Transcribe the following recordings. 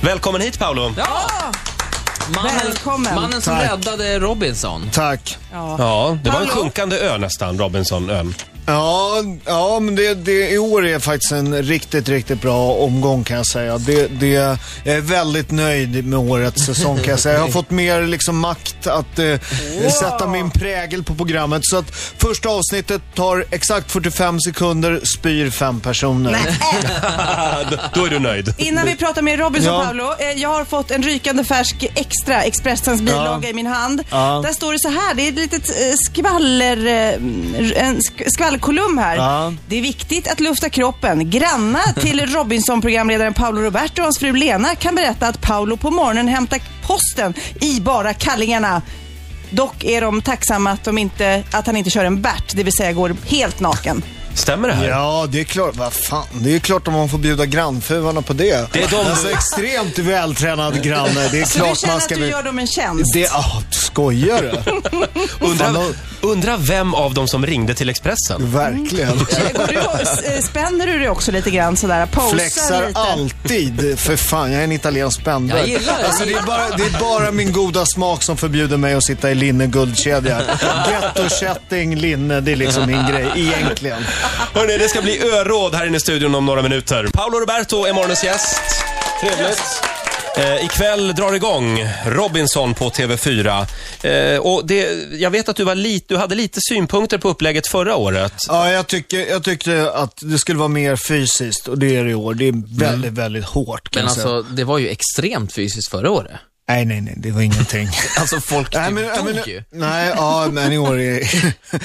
Välkommen hit Paolo. Ja! Mannen, Välkommen. mannen som Tack. räddade Robinson. Tack. Ja, det var en Paolo. sjunkande ö nästan, Robinsonön. Ja, ja men det, det, i år är faktiskt en riktigt, riktigt bra omgång kan jag säga. Det, det, jag är väldigt nöjd med årets säsong kan jag säga. Jag har fått mer liksom, makt att eh, sätta min prägel på programmet. Så att första avsnittet tar exakt 45 sekunder, spyr fem personer. Då- Då är du nöjd. Innan vi pratar med Robinson Ja. Paolo, eh, jag har fått en rykande färsk Extra, Expressens bilaga i min hand. Ja. Där står det så här, det är ett litet eh, skvaller, eh, en sk- skvallerkolumn här. Ja. Det är viktigt att lufta kroppen. Grannar till Robinson-programledaren Paolo Roberto och hans fru Lena kan berätta att Paolo på morgonen hämtar posten i bara kallingarna. Dock är de tacksamma att, de inte, att han inte kör en bärt, det vill säga går helt naken. Stämmer det här? Ja, det är klart. Vad fan, det är klart om man får bjuda grannfruarna på det. Det är de- Alltså extremt vältränad granne. Det är Så du klart känner man att ska... du bli- gör dem en tjänst? Det, ah, skojar du? Fan, Undra, de- undra vem av dem som ringde till Expressen? Verkligen. Eh, Går du och s- spänner du dig också lite grann sådär? Posar Flexar lite? alltid. För fan, jag är en italiensk spändare. Jag gillar det. Alltså, det, är bara, det är bara min goda smak som förbjuder mig att sitta i linne guldkedja. Gettokätting, linne, det är liksom min grej egentligen. Hörrni, det ska bli öråd här inne i studion om några minuter. Paolo Roberto är morgonens gäst. Trevligt. Eh, ikväll drar igång Robinson på TV4. Eh, och det, jag vet att du, var lit, du hade lite synpunkter på upplägget förra året. Ja, jag, tycker, jag tyckte att det skulle vara mer fysiskt och det är det i år. Det är väldigt, väldigt hårt. Kan Mm. Men jag säga. alltså, det var ju extremt fysiskt förra året. Nej, nej, nej, det var ingenting. Alltså folk typ Nej, men, nej, dog men, ju. nej, ja, men i år är...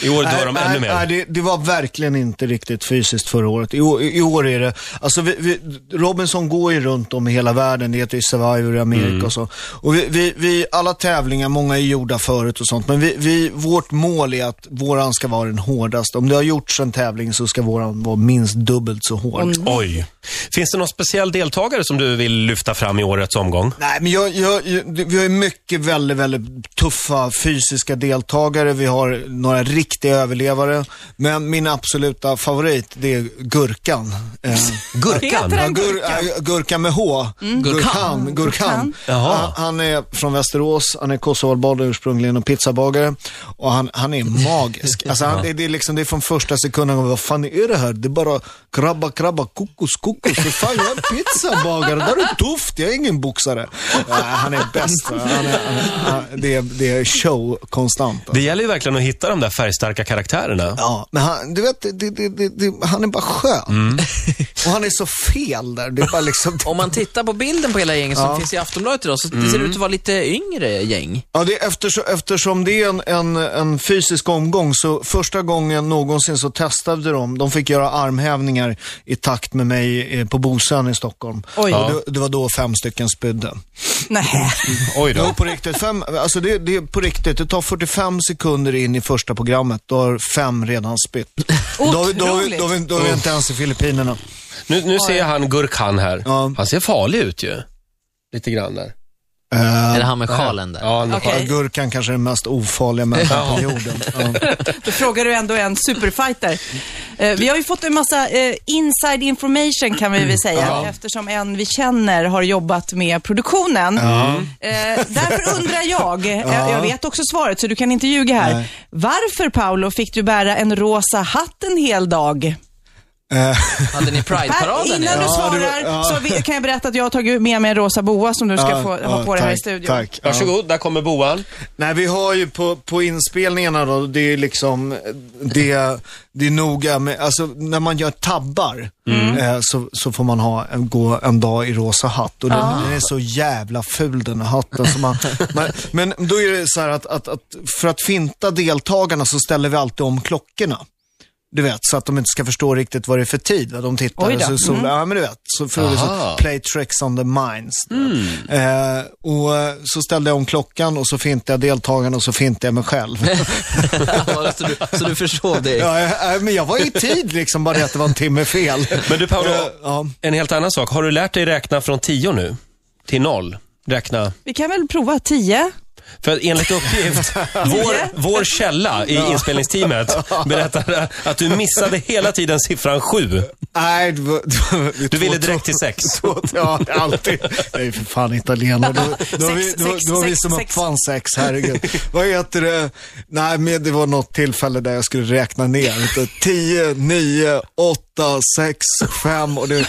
I år dör de Nej, ännu nej, mer. Nej, det, det var verkligen inte riktigt fysiskt förra året. I, år- i år är det, alltså vi, vi, Robinson går ju runt om i hela världen. Det heter ju Survivor i Amerika Mm. och så. Och vi, vi, vi, alla tävlingar, många är gjorda förut och sånt. Men vi, vi, vårt mål är att våran ska vara den hårdaste. Om det har gjorts en tävling så ska våran vara minst dubbelt så hård. Oj. Finns det någon speciell deltagare som du vill lyfta fram i årets omgång? Nej, men jag, jag, jag, det- vi har ju mycket väldigt, väldigt tuffa fysiska deltagare. Vi har några riktiga överlevare. Men min absoluta favorit, det är Gurkan. Eh, Gurkan? ja, gur, äh, gurkan med H. Gurkan. Gurkan. Jaha. Han, han är från Västerås, han är kosovoalbaner ursprungligen och pizzabagare. Och han, han är magisk. Alltså, han, det, det, är liksom, det är från första sekunden, vad fan är det här? Det är bara krabba, krabba, kokos, kokos. För fan, jag är en pizzabagare. Det här är tufft, jag är ingen boxare. Ja, han är bäst. Han är, han är, han, det, är, det är show konstant. alltså. Det gäller ju verkligen att hitta de där färgstarka karaktärerna. Ja, men han, du vet, det, det, det, det, han är bara skön. Och han är så fel där. Det är bara liksom... Om man tittar på bilden på hela gänget som finns i Aftonbladet idag, så det ser ut att vara lite yngre gäng. Mm. Ja, det är eftersom, eftersom det är en, en, en fysisk omgång så första gången någonsin så testade de. De fick göra armhävningar i takt med mig eh, på Bosön i Stockholm. Oj. Och det, det var då fem stycken spydde. Nej. Oj Jo, på riktigt. Fem, alltså det, det är på riktigt. Det tar 45 sekunder in i första programmet. Då har fem redan spytt. Då, har vi- då, har vi- då, har vi- då är vi inte ens i Filippinerna. Nu, nu ser jag han Gurkan här. Ja. Han ser farlig ut ju. Lite grann där. Eh, Eller han med sjalen där. Ja, han, Okej. Gurkan Eh, kanske är den mest ofarliga människan på jorden. Ja. Då frågar du ändå en superfighter. Eh, vi har ju fått en massa eh, inside information kan Mm. vi väl säga, eftersom en vi känner har jobbat med produktionen. Eh, därför undrar jag, eh, jag vet också svaret så du kan inte ljuga här. Varför Paolo fick du bära en rosa hatt en hel dag? Eh, Hade ni Här, Pride-paraden? innan eller? Ja, du det var- svarar ja. så vi- kan jag berätta att jag har tagit med mig en rosa boa som du ska Ja, få ha ja, på dig här i tack, studion. Tack. Ja. Varsågod, där kommer boan. Nej, vi har ju på, på inspelningarna då, det är liksom, det, det är noga med, alltså när man gör tabbar Mm. eh, så, så får man ha, en- gå en dag i rosa hatt och den, Ah. den är så jävla ful den här hatten. Så man, man, men då är det så här att, att, att för att finta deltagarna så ställer vi alltid om klockorna. Du vet, så att de inte ska förstå riktigt vad det är för tid. Vad de Oj tittar. då. Mm. Så, så, Ja, men du vet. Så för att Aha. Mm. så, play tricks on the minds. Eh, och eh, så ställde jag om klockan och så fintade jag deltagarna och så fintade jag mig själv. Ja, så, du, så du förstod det. ja, eh, eh, men jag var i tid liksom, bara det att det var en timme fel. Men du Paolo, Eh, ja. en helt annan sak. Har du lärt dig räkna från 10 nu? Till noll? Räkna. Vi kan väl prova tio? För enligt uppgift, vår, vår källa i inspelningsteamet berättar att du missade hela tiden siffran 7. Nej, det var, det var, Du ville direkt till sex. Så, ja, alltid. Jag är för fan italienare. Då, då, var vi, Sex, då, sex, då var vi sex, som sex. uppfann sex, herregud. Vad heter det? Nej, men det var något tillfälle där jag skulle räkna ner. 10, 9, 8, 6, 5 och det,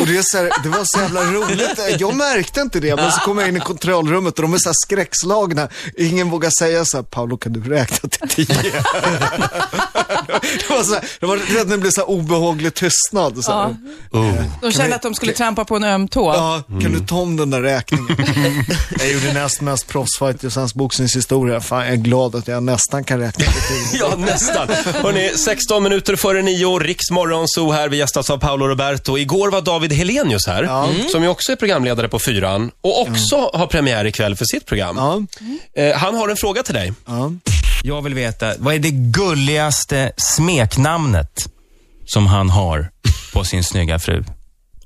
och det, är så här, det var så jävla roligt. Jag märkte inte det, men så kom jag in i kontrollrummet och de är så här skräckslagna. Ingen vågar säga så här, Paolo kan du räkna till 10? Det var, så här, det var det blev så här obehaglig tystnad. Så här. Ja. Oh. De kände att de skulle trampa på en öm tå. Ja, kan du ta om den där räkningen? jag gjorde näst mest proffsfight i svensk boxningshistoria. Fan, jag är glad att jag nästan kan räkna till tio. Ja, nästan. Hörrni, 16 minuter före nio, Riks Morgonzoo här. Vi gästas av Paolo Roberto. Igår var David Helenius här, Mm. som ju också är programledare på Fyran och också har premiär ikväll för sitt program. Ja, Eh, han har en fråga till dig. ja. Jag vill veta, vad är det gulligaste smeknamnet som han har på sin snygga fru?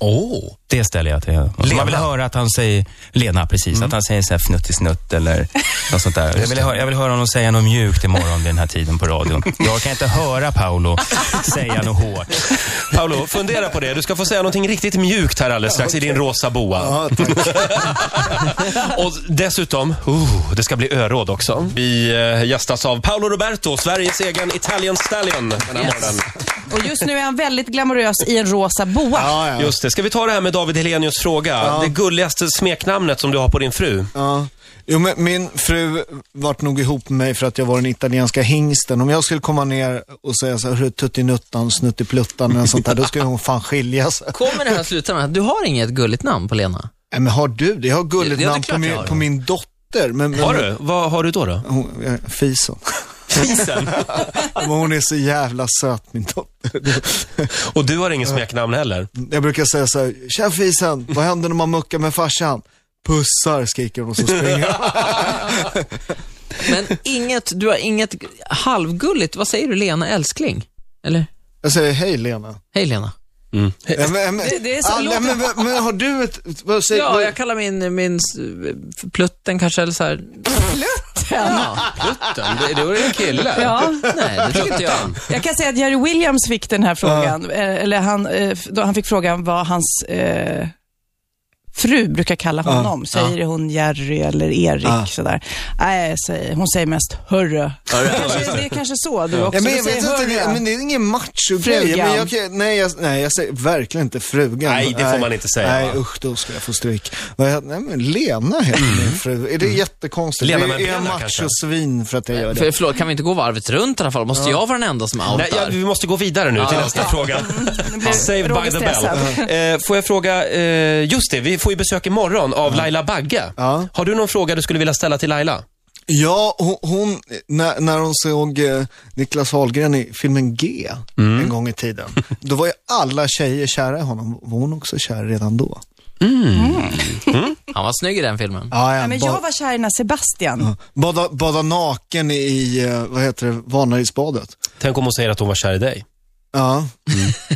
Åh. Det ställer jag till honom. Man vill höra att han säger, Lena precis, att han säger så här fnuttisnutt eller något sånt där. Jag vill, höra, jag vill höra honom säga något mjukt imorgon vid den här tiden på radion. Jag kan inte höra Paolo säga något hårt. Paolo, fundera på det. Du ska få säga någonting riktigt mjukt här alldeles strax i din rosa boa. ja tack. Och dessutom, oh, det ska bli öråd också. Vi eh, gästas av Paolo Roberto, Sveriges egen Italian Stallion den här morgonen. Och just nu är han väldigt glamorös i en rosa boa. Ja, ja. Just det. Ska vi ta det här med David Helenius fråga? Det gulligaste smeknamnet som du har på din fru? Ja. Jo, men min fru vart nog ihop med mig för att jag var den italienska hingsten. Om jag skulle komma ner och säga så här, "Hörru, tuttinuttan, snuttipluttan eller sånt där, då skulle hon fan skiljas. Kommer det här sluta med att du har inget gulligt namn på Lena? Nej, men har du det? Jag har gulligt Ja, det är namn på klart jag min, har det. på min dotter. Men, men, Har du? Vad har du då? då? Hon, eh, fisen. Fisen. Men hon är så jävla söt, min dotter. Och du har inget smeknamn heller? Jag brukar säga så här, tja fisen, vad händer när man muckar med farsan? Pussar, skriker hon och så springer jag. Men inget, du har inget halvgulligt, vad säger du Lena älskling? Eller? Jag säger, hej Lena. Hej Lena. Ja, men, men, Det- det är så- ah, nej, men, men, men har du ett, vad säger Ja, vad- jag kallar min, min s- plutten kanske, eller så här. Plutten? Ja, Utan, det, det var en kille. Ja. nej, det tycker inte jag. Jag kan säga att Jerry Williams fick den här frågan. Eh, Eller han, eh, f- då han fick frågan vad hans eh, fru brukar kalla honom. Säger hon Jerry eller Erik? Sådär. Nej, säger, hon säger mest hörru. kanske, det är kanske så du också Ja, men Du jag vet säger inte, det, hörru. men det är ingen machogrej. Frugan. Men jag, kan- nej, jag, nej, jag säger verkligen inte frugan. Nej, det får man inte säga, Nej, va? usch, då ska jag få stryk. Vad jag- Nej, men Lena heter min fru. Är det jättekonstigt? Mm. Lena det med är jag benen, kanske? machosvin för att jag gör För, det. förlåt, kan vi inte gå varvet runt i alla fall? Måste jag vara den enda som outar? Nej, ja, vi måste gå vidare nu till nästa fråga. blir Saved by Roger the bell. Eh, får jag fråga, eh, just det, vi får ju besök imorgon av Laila Bagge. Ja. Har du någon fråga du skulle vilja ställa till Laila? Ja, hon, hon när, när hon såg eh, Niklas Wahlgren i filmen G en gång i tiden, då var ju alla tjejer kära i honom. Var hon också kär redan då? Han var snygg i den filmen. Ja, Nej, ja. men ba- jag var kär i den här Sebastian. bada, bada naken i, eh, vad heter det, Vanadisbadet. Tänk om hon säger att hon var kär i dig. Ja,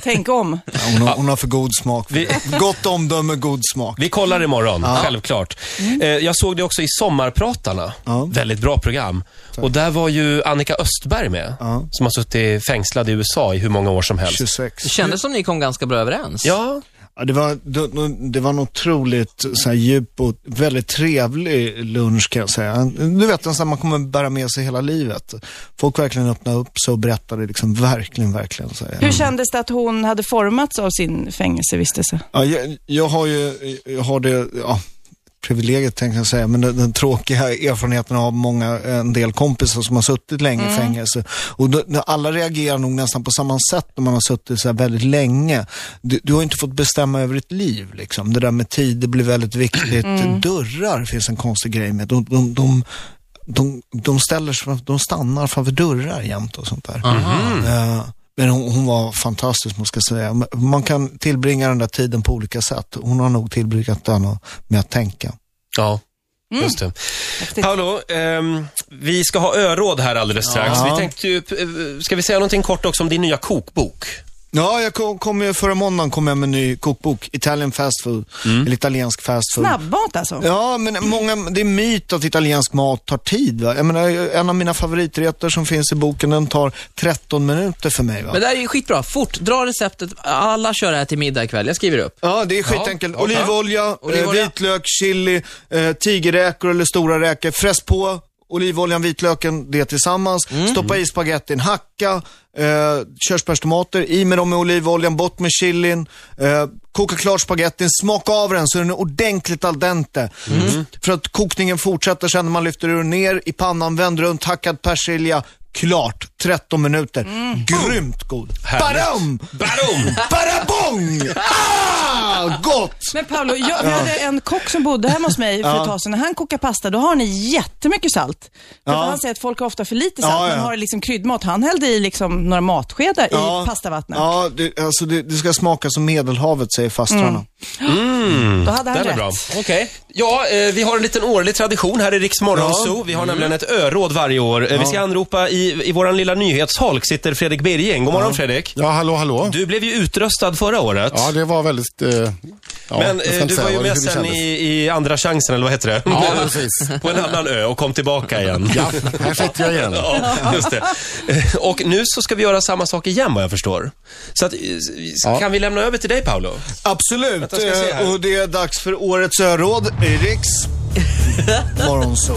Tänk om. ja, hon, har, hon har för god smak. för Vi- det. Gott omdöme, god smak. Vi kollar imorgon, självklart. Eh, jag såg det också i Sommarpratarna. Ja. Väldigt bra program. Och där var ju Annika Östberg med, Ja. som har suttit fängslad i USA i hur många år som helst. 26. Det kändes som ni kom ganska bra överens. Ja, Ja, det, var, det, det var en otroligt så här, djup och väldigt trevlig lunch kan jag säga. Du vet, en sån här man kommer bära med sig hela livet. Folk verkligen öppnade upp sig och berättade liksom verkligen, verkligen. Så här. Hur kändes det att hon hade formats av sin fängelsevistelse? Ja, jag, jag har ju, jag har det, ja, privilegiet tänkte jag säga, men den, den tråkiga erfarenheten av många, en del kompisar som har suttit länge i fängelse. Och då, när alla reagerar nog nästan på samma sätt när man har suttit så här väldigt länge. Du, du har inte fått bestämma över ditt liv liksom. Det där med tid, det blir väldigt viktigt. Dörrar finns en konstig grej med. De, de, de, de, de, ställer, sig framför- de stannar framför dörrar jämt och sånt där. Eh, men hon, hon var fantastisk, måste jag säga. Man- Man kan tillbringa den där tiden på olika sätt. Hon har nog tillbringat den och- med att tänka. ja. Just det. Paolo, ehm, vi ska ha öråd här alldeles strax. Vi tänkte ju, eh, ska vi säga någonting kort också om din nya kokbok? Ja, jag kom, kom ju, förra måndagen kom jag med en ny kokbok, Italian fast food, eller italiensk fast food. Snabbmat alltså. Ja, men många, det är myt att italiensk mat tar tid. Va? Jag menar, en av mina favoriträtter som finns i boken, den tar 13 minuter för mig. Va? Men det här är ju skitbra. Fort, dra receptet. Alla kör det här till middag ikväll. Jag skriver upp. Ja, det är skitenkelt. Ja, okej. Olivolja, Olivolja. Eh, vitlök, chili, eh, tigerräkor eller stora räkor. Fräs på olivoljan, vitlöken, det tillsammans. Stoppa i spagettin, hacka eh, körsbärstomater, i med dem med olivoljan, bort med chilin. Eh, koka klart spagettin, smaka av den så den är ordentligt al dente. För att kokningen fortsätter sen när man lyfter ur ner i pannan, vänd runt, hackad persilja. Klart, 13 minuter. Grymt god. Härligt. Badam! Badum! Badabong! Ah, gott! Men Paolo, jag, vi hade en kock som bodde hemma hos mig för ett tag sedan. När han kokar pasta, då har ni jättemycket salt. För Ja. Han säger att folk har ofta för lite salt, Ja, ja. men har liksom kryddmat. Han hällde i liksom några matskedar i pastavattnet. Ja, det, alltså det, det ska smaka som Medelhavet, säger fastrarna. Då hade han Den är rätt. bra. Okej. Ja, eh, vi har en liten årlig tradition här i Riks Morgonzoo. Vi har Mm. nämligen ett öråd varje år. Eh, Vi ska anropa, i, i vår lilla nyhetsholk sitter Fredrik Birging. God morgon Fredrik. Ja, hallå, hallå. Du blev ju utröstad förra året. Ja, det var väldigt... Eh, ja, jag Men ska eh, inte du säga var ju vad- hur med det sen kändes. i, i andra chansen, eller vad heter det? Ja, precis. På en annan ö och kom tillbaka igen. Ja, här sitter jag igen. Ja, just det. Eh, Och nu så ska vi göra samma sak igen vad jag förstår. Så att, eh, s- Ja. kan vi lämna över till dig Paolo? Absolut. Vänta, ska jag se här. Eh, och det är dags för årets öråd i Riks Morgonzoo.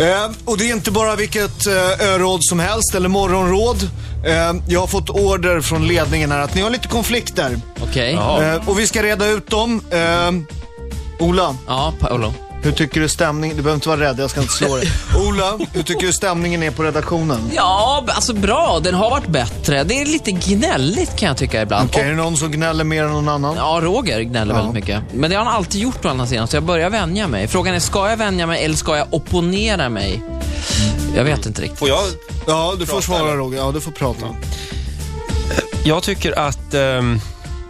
Eh, och det är inte bara vilket eh, öråd som helst, eller morgonråd. Eh, jag har fått order från ledningen här att ni har lite konflikter. Okej. Eh, och vi ska reda ut dem. Eh, Ola, Ja, Paolo. hur tycker du stämningen... Du behöver inte vara rädd, jag ska inte slå dig. Ola, hur tycker du stämningen är på redaktionen? Ja, alltså bra. Den har varit bättre. Det är lite gnälligt kan jag tycka ibland. Okej, är det någon som gnäller mer än någon annan? Ja, Roger gnäller väldigt mycket. Men det har han alltid gjort å andra sidan, så jag börjar vänja mig. Frågan är, ska jag vänja mig eller ska jag opponera mig? Jag vet inte riktigt. Får jag? Ja, du får Prata, svara eller? Roger. Ja, du får prata. Jag tycker att ehm,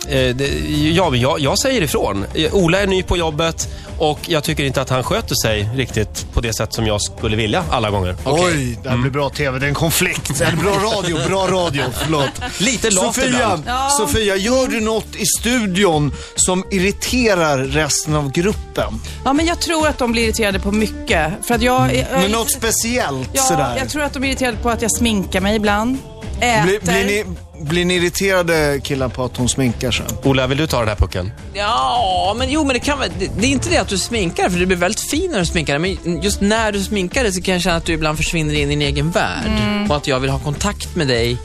eh, det, ja, men jag, jag säger ifrån. Eh, Ola är ny på jobbet och jag tycker inte att han sköter sig riktigt på det sätt som jag skulle vilja alla gånger. Oj, det här blir bra TV. Det är en konflikt. Eller bra radio, bra radio. Förlåt. Lite lat Sofia, ibland. Sofia, gör du något i studion som irriterar resten av gruppen? Ja, men jag tror att de blir irriterade på mycket. För att jag, jag, Men något speciellt ja, sådär? Jag tror att de är irriterade på att jag sminkar mig ibland. Äter. Blir, blir, ni, blir ni irriterade killar på att hon sminkar sig? Ola, vill du ta den här pucken? Ja, men jo, men det kan väl... Det, det är inte det att du sminkar, för du blir väldigt fin när du sminkar dig, Men just när du sminkar dig så kan jag känna att du ibland försvinner in i din egen värld. Och att jag vill ha kontakt med dig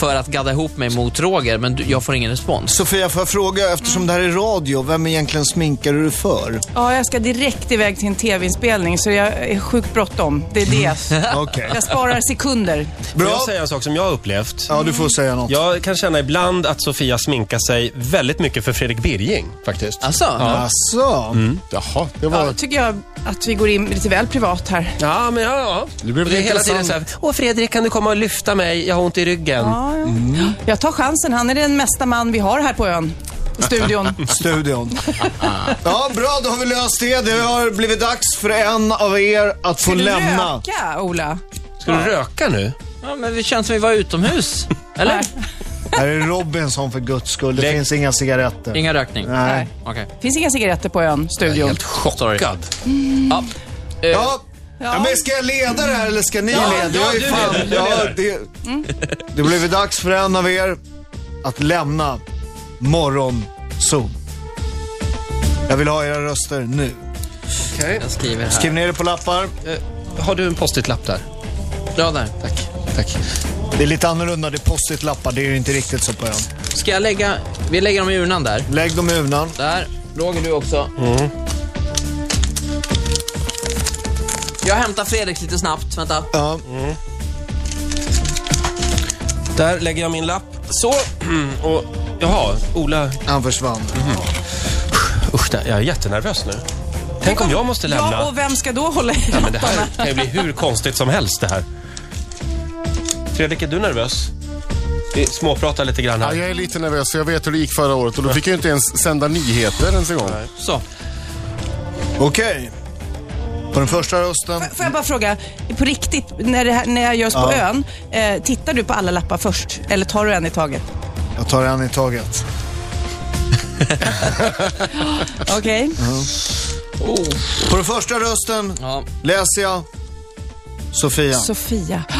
för att gadda ihop mig mot Roger, men du, jag får ingen respons. Sofia, får jag fråga, eftersom det här är radio, vem egentligen sminkar du dig för? Ja, jag ska direkt iväg till en tv-inspelning så jag är sjukt bråttom. Det är det. Okej. Jag sparar sekunder. Får Bra. jag säga en sak som jag har upplevt? Ja, du får säga något. Jag kan känna ibland att Sofia sminkar sig väldigt mycket för Fredrik Birging, faktiskt. Alltså? Ja. Asså? Jaha, det Ja, var... då tycker jag att vi går in lite väl privat här. Ja, men ja, ja. Det blir väl det är hela tiden intressant. så här, Åh Fredrik, kan du komma och lyfta mig? Jag har ont i ryggen. Ja, ja. Mm. Jag tar chansen. Han är den mesta man vi har här på ön. I studion. studion. Ja, bra, då har vi löst det. Det har blivit dags för en av er att få Ska du lämna. röka, Ola? Ska du röka nu? men det känns som vi var utomhus. Eller? Här är Robinson för guds skull. Det Lägg- finns inga cigaretter. Ingen rökning? Nej. Okej. Finns inga cigaretter på ön, studion. Sorry. Chockad. Ja. Eh, Ja. Ja, men ska jag leda det här eller ska ni leda? ja, Jag är du fan- leder, du ja, leder. Mm. det, det blev dags för en av er att lämna morgonzon. Jag vill ha era röster nu. Jag skriver här. Skriv ner det på lappar. Har du en post-it-lapp där? Ja, där. Tack. Tack. Det är lite annorlunda. Det är post lappar Det är ju inte riktigt så på ön. Ska jag lägga... Vi lägger dem i urnan där. Lägg dem i urnan. Där. Roger, du också. Mm. Jag hämtar Fredrik lite snabbt. Vänta. Ja. Där lägger jag min lapp. Så. Och, jaha, Ola. Han försvann. Usch, nej, jag är jättenervös nu. Tänk om jag måste lämna. Ja, och vem ska då hålla i Ja, men det här kan ju bli hur konstigt som helst det här. Fredrik, är du nervös? Vi småpratar lite grann Ja, här. jag är lite nervös för jag vet hur det gick förra året och då fick jag ju inte ens sända nyheter ens en gång. Så. Okej. På den första rösten, F- Får jag bara fråga, på riktigt, när, det här, när jag görs på Ja. ön, eh, tittar du på alla lappar först? Eller tar du en i taget? jag tar en i taget. Okej. På den första rösten Ja. läser jag Sofia. Sofia.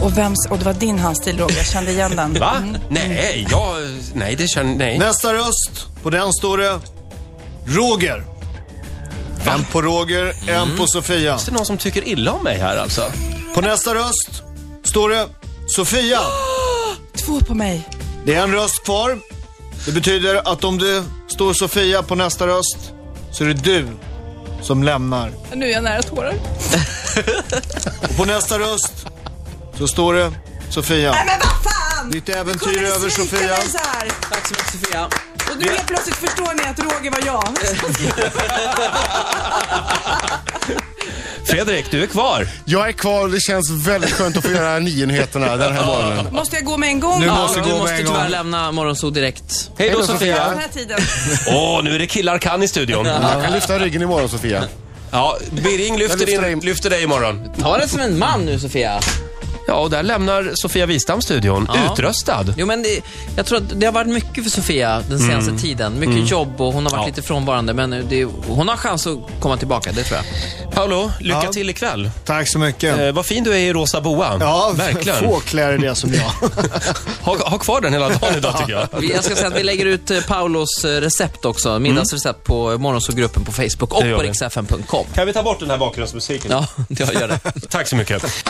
Och, vems, och det var din handstil, Roger. Jag kände igen den. Va? Mm. Nej, jag... Nej, det känner... Nej. Nästa röst, på den står det Roger. En på Roger, en på Sofia. Det är någon som tycker illa om mig här alltså. På nästa röst står det Sofia. Två på mig. Det är en röst kvar. Det betyder att om det står Sofia på nästa röst så är det du som lämnar. Nu är jag nära tårar. Och på nästa röst så står det Sofia. Nej, men vad fan! Ditt Du kunde äventyr är över svika Sofia. mig så här. Tack så mycket Sofia. Och nu helt plötsligt förstår ni att Roger var jag. Fredrik, du är kvar. Jag är kvar och det känns väldigt skönt att få göra nyheterna den här morgonen. Måste jag gå med en gång? Nu Ja, måste du gå med måste en tyvärr gång. lämna Morgonzoo direkt. Hej då då, Sofia. Sofia. Den här tiden. Åh, nu är det killar kan i studion. Jag kan lyfta ryggen imorgon Sofia. Ja, Birging lyfter, Jag lyfter din, dig. lyfter dig imorgon. Ta det som en man nu Sofia. Ja, och där lämnar Sofia Wistam studion. Ja. Utröstad. Jo, men det, jag tror att det har varit mycket för Sofia den senaste tiden. Mycket jobb och hon har varit Mm. Ja. lite frånvarande. Men det, hon har chans att komma tillbaka, det tror jag. Paolo, lycka Ja. till ikväll. Tack så mycket. Eh, vad fin du är i rosa boa. Ja, Verkligen. få klär i det som jag. Ha, ha kvar den hela dagen idag tycker jag. Vi, jag ska säga att vi lägger ut eh, Paulos eh, recept också. Middagsrecept på Morgonzoo-gruppen på Facebook och Det gör på vi. riksfn.com. Kan vi ta bort den här bakgrundsmusiken? Ja, jag gör det. Tack så mycket.